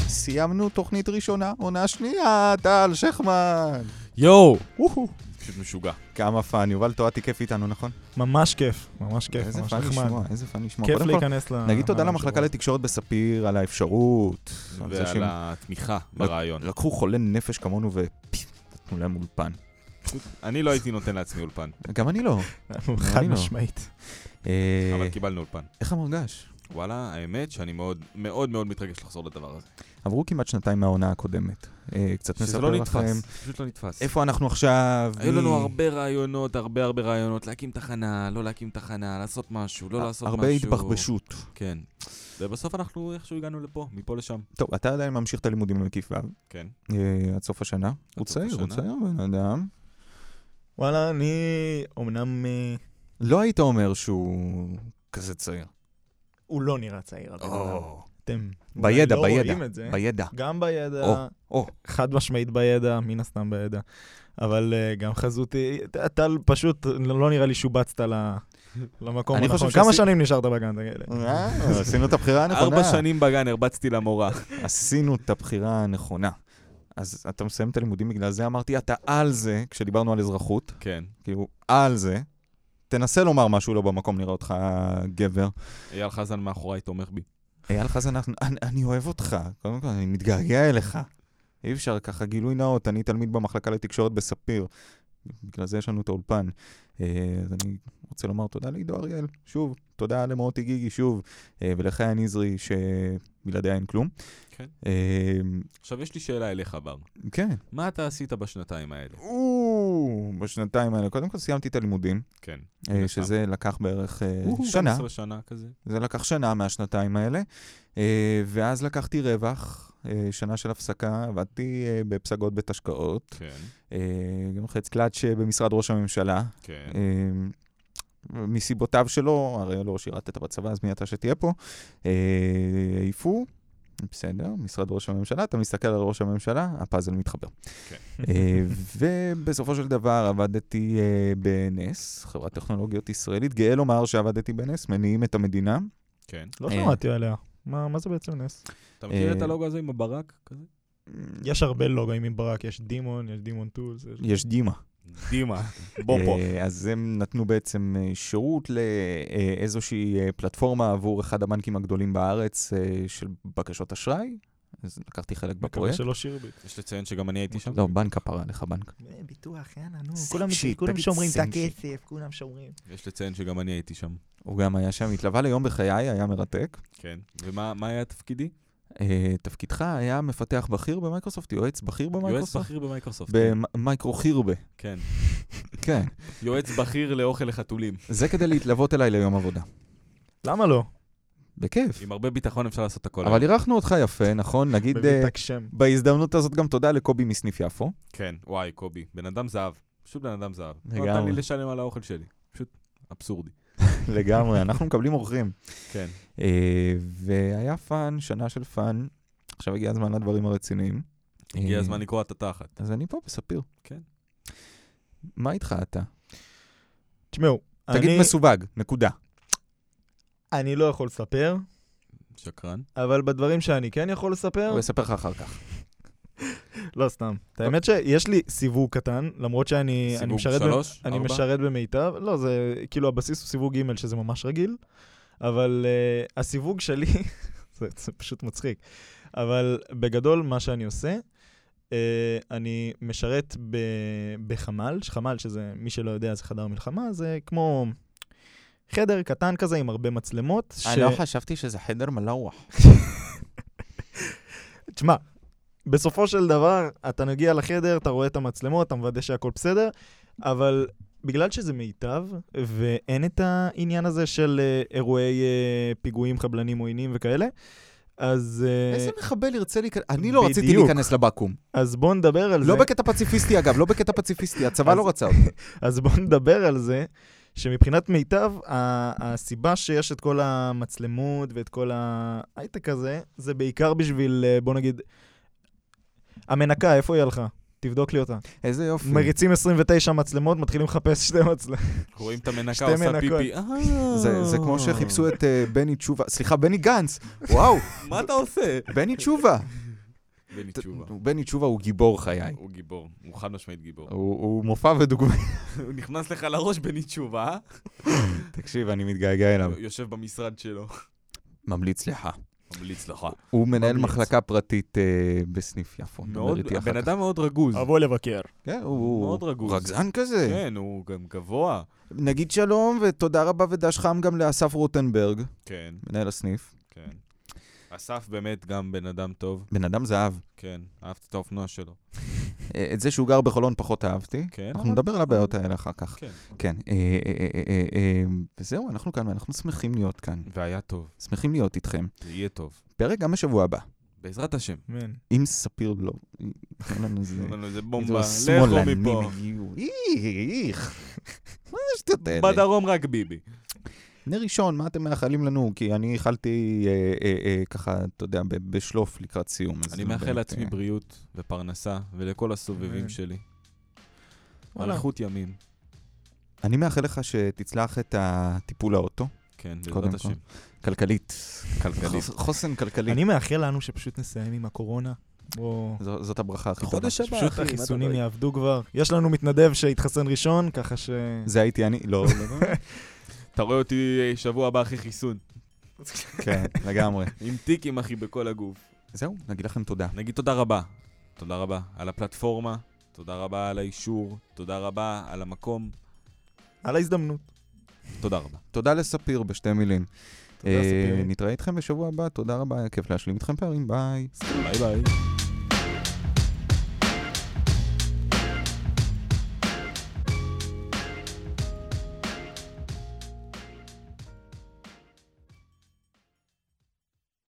סיימנו תוכנית ראשונה, עונה שנייה, טל שכמן. יואו! וואו. פשוט משוגע. כמה פאן, יובל טועתי כיף איתנו, נכון? ממש כיף, ממש כיף, איזה ממש פאן נחמד. לשמוע, איזה פאן לשמוע. כיף קודם כל, להיכנס ל... נגיד תודה לשבוע. למחלקה לתקשורת בספיר על האפשרות. על זה לא- ועל שהם התמיכה ברעיון. לקחו חולה נפש כמונו ונתנו להם אולפן. אני לא הייתי נותן לעצמי אולפן, גם אני לא. חד אני לא. משמעית. אה, אבל קיבלנו אולפן. איך המרגש? וואלה, האמת שאני מאוד מאוד מאוד מתרגש לחזור לדבר הזה. עברו כמעט שנתיים מהעונה הקודמת. אה, קצת שזה נספר לא לכם. נתפס, פשוט לא נתפס. איפה אנחנו עכשיו? היו מי- לנו הרבה רעיונות, הרבה הרבה רעיונות, להקים תחנה, לא להקים תחנה, לעשות משהו, לא לעשות משהו. אה, הרבה התבחבשות. כן. ובסוף אנחנו איכשהו הגענו לפה, מפה לשם. טוב, אתה עדיין ממשיך את הלימודים במקיף ו'. כן. אה, עד סוף השנה. הוא סוף צעיר, הוא השנה. צעיר בן אדם. וואלה, אני אמנם... אה, לא היית אומר שהוא כזה צעיר. הוא לא נראה צעיר, הבן אדם. אתם... אולי בידע, לא בידע, רואים את זה. בידע. גם בידע, או, או. חד משמעית בידע, מן הסתם בידע. אבל אה, גם חזותי, אתה- אתה פשוט, לא נראה לי שובצת ל- למקום אני הנכון. חושב כמה שעשי- שנים נשארת בגן, תגיד לי? אה, עשינו את הבחירה הנכונה. ארבע שנים בגן הרבצתי למורה. עשינו את הבחירה הנכונה. אז אתה מסיים את הלימודים בגלל זה, אמרתי, אתה על זה, כשדיברנו על אזרחות, כן. כאילו, על זה. תנסה לומר משהו לא במקום, נראה אותך גבר. אייל חזן מאחוריי תומך בי. אייל חזן, אנחנו- אני, אני אוהב אותך, קודם כל, אני מתגעגע אליך. אי אפשר ככה, גילוי נאות, אני תלמיד במחלקה לתקשורת בספיר. בגלל זה יש לנו את האולפן. אה, אז אני רוצה לומר תודה לעידו אריאל, שוב, תודה למוטי גיגי, שוב, אה, ולחיה נזרי, שבלעדיה אין כלום. כן. אה, עכשיו, יש לי שאלה אליך, בר. כן. מה אתה עשית בשנתיים האלה? או, בשנתיים האלה, קודם כל סיימתי את הלימודים, כן. אה, מן הסתם. שזה לקח בערך אה, שנה, 12 שנה כזה. זה לקח שנה מהשנתיים האלה, אה, ואז לקחתי רווח, אה, שנה של הפסקה, עבדתי אה, בפסגות בית השקעות, כן, אה, גם חץ קלאץ' אה, במשרד ראש הממשלה. כן. אה, מסיבותיו שלו, הרי לא שירתת בצבא, אז מי אתה שתהיה פה? אה, העיפו, בסדר, משרד ראש הממשלה, אתה מסתכל על ראש הממשלה, הפאזל מתחבר. אה, ובסופו של דבר עבדתי אה, בנס, חברת טכנולוגיות ישראלית. גאה לומר שעבדתי בנס, מניעים את המדינה. כן. לא אה. שמעתי עליה. מה מה זה בעצם נס? אתה מכיר אה, את הלוגו הזה עם הברק? כזה? יש הרבה לוגוים עם ברק, יש דימון, יש דימון טולס. יש- יש דימה. דימה. בוא פה. אה, אז הם נתנו בעצם אה, שירות לאיזושהי אה, פלטפורמה עבור אחד הבנקים הגדולים בארץ אה, של בקשות אשראי. אז לקחתי חלק מקווה בפרויקט. שלא שירביט. יש לציין שגם אני הייתי שם. לא, בנק הפרה לך, בנק. אה, ביטוח, יאללה, נו, סנק כולם- שיט, כולם תגיד שומרים את סנק שיט. כולם שומרים. יש לציין שגם אני הייתי שם. הוא גם היה שם, התלווה ליום בחיי, היה מרתק. כן. ומה מה היה תפקידי? אה, תפקידך היה מפתח בכיר במייקרוסופט, יועץ בכיר יועץ במייקרוסופט? בכיר במייקרוסופט. במייקרו חירבה, כן. כן. יועץ בכיר לאוכל לחתולים. זה כדי להתלוות אליי ליום עבודה. למה לא? בכיף. עם הרבה ביטחון אפשר לעשות הכל. אבל אירחנו אותך יפה, נכון? נגיד אה, בביטק שם. בהזדמנות הזאת גם תודה לקובי מסניף יפו. כן, וואי, קובי. בן אדם זהב. פשוט בן אדם זהב. לא לגמרי. נתן לי לשלם על האוכל שלי. פשוט אבסורדי. לגמרי, אנחנו מקבלים אורחים. כן. אה, והיה פאן, שנה של פאן. עכשיו הגיע הזמן לדברים הרציניים. הגיע אה, הזמן לקרוע את התחת. אז אני פה בספיר. כן. מה איתך אתה? תשמעו, תגיד אני- מסווג, נקודה. אני לא יכול לספר, שקרן. אה, אבל בדברים שאני כן יכול לספר, הוא יספר לך אחר כך. לא סתם. את האמת שיש לי סיווג קטן, למרות שאני אני סיבוב משרת... ב- שלוש, אני ארבע. משרת במיטב, לא, זה כאילו הבסיס הוא סיווג ג' שזה ממש רגיל, אבל uh, הסיווג שלי, זה, זה פשוט מצחיק, אבל בגדול מה שאני עושה, uh, אני משרת ב, בחמ"ל, חמ"ל שזה, מי שלא יודע, זה חדר מלחמה, זה כמו חדר קטן כזה עם הרבה מצלמות. אה, ש- לא חשבתי שזה חדר מלאוח. תשמע, בסופו של דבר, אתה מגיע לחדר, אתה רואה את המצלמות, אתה מוודא שהכל בסדר, אבל בגלל שזה מיטב, ואין את העניין הזה של אה, אירועי אה, פיגועים, חבלנים, עוינים וכאלה, אז, אה, איזה מחבל ירצה להיכנס? אני לא רציתי בדיוק. להיכנס לבקו"ם. אז בואו נדבר על לא זה. בקטע פציפיסטי, אגב, לא בקטע פציפיסטי, הצבא אז- לא רצה אותי. אז בואו נדבר על זה, שמבחינת מיטב, ה- הסיבה שיש את כל המצלמות ואת כל ההייטק הזה, זה בעיקר בשביל, אה, בוא נגיד, המנקה, איפה היא הלכה? תבדוק לי אותה. איזה יופי. מריצים 29 מצלמות, מתחילים לחפש שתי מצלמות. רואים את המנקה שתי עושה מנקות. פיפי. אה. זה זה כמו שחיפשו את אה, בני תשובה, סליחה, בני גנץ. וואו, מה אתה עושה? בני תשובה. בני תשובה. בני תשובה הוא גיבור חיי. הוא גיבור, הוא חד משמעית גיבור. הוא הוא מופע ודוגמה. הוא נכנס לך לראש בני תשובה, אה? תקשיב, אני מתגעגע אליו. יושב במשרד שלו. ממליץ לך. ממליץ לך. הוא מנהל ממליץ. מחלקה פרטית אה, בסניף יפו. נדבר מאוד, איתי אחר הבן כך. אדם מאוד רגוז. אבוא לבקר. כן, הוא מאוד הוא רגוז. רגזן כזה. כן, הוא גם גבוה. נגיד שלום ותודה רבה ודש חם גם לאסף רוטנברג, כן, מנהל הסניף. כן. אסף באמת גם בן אדם טוב. בן אדם זהב. כן, אהבתי את האופנוע שלו. אה, את זה שהוא גר בחולון פחות אהבתי. כן, אנחנו אבל- נדבר על הבעיות האלה אחר כך. כן. כן. אה, אה, אה, אה, אה, אה, וזהו, אנחנו כאן, ואנחנו שמחים להיות כאן. והיה טוב, שמחים להיות איתכם. זה יהיה טוב. פרק גם בשבוע הבא. בעזרת השם. מן. אם ספיר לא... תנו לנו אוקיי. איזה- תנו לנו איזה איזה בומבה, לכו שמאלנים מפה. הגיעו. איך. מה זה השטויות האלה? בדרום רק ביבי. נר ראשון, מה אתם מאחלים לנו? כי אני איחלתי אה, אה, אה, ככה, אתה יודע, ב- בשלוף לקראת סיום. אז אני לא מאחל באמת, לעצמי אה, בריאות ופרנסה ולכל הסובבים אמן. שלי. וואלה. אריכות ימים. אני מאחל לך שתצלח את הטיפול האוטו, כן, קודם בעזרת כל. השם. כלכלית. כלכלית. חוס- חוסן כלכלי. אני מאחל לנו שפשוט נסיים עם הקורונה. בואו... זו- זאת הברכה הכי טובה. חודש הבא, אחי. פשוט מה אתה החיסונים דואג? יעבדו כבר. יש לנו מתנדב שהתחסן ראשון, ככה ש... זה הייתי אני, לא, לא, לא. אתה רואה אותי אה, שבוע הבא אחרי חיסון. כן, לגמרי. עם טיקים, אחי, בכל הגוף. זהו, נגיד לכם תודה. נגיד תודה רבה. תודה רבה על הפלטפורמה, תודה רבה על האישור, תודה רבה על המקום, על ההזדמנות. תודה רבה. תודה לספיר בשתי מילים. תודה, אה, ספיר. נתראה איתכם בשבוע הבא, תודה רבה, היה כיף להשלים איתכם פערים, ביי. ביי ביי.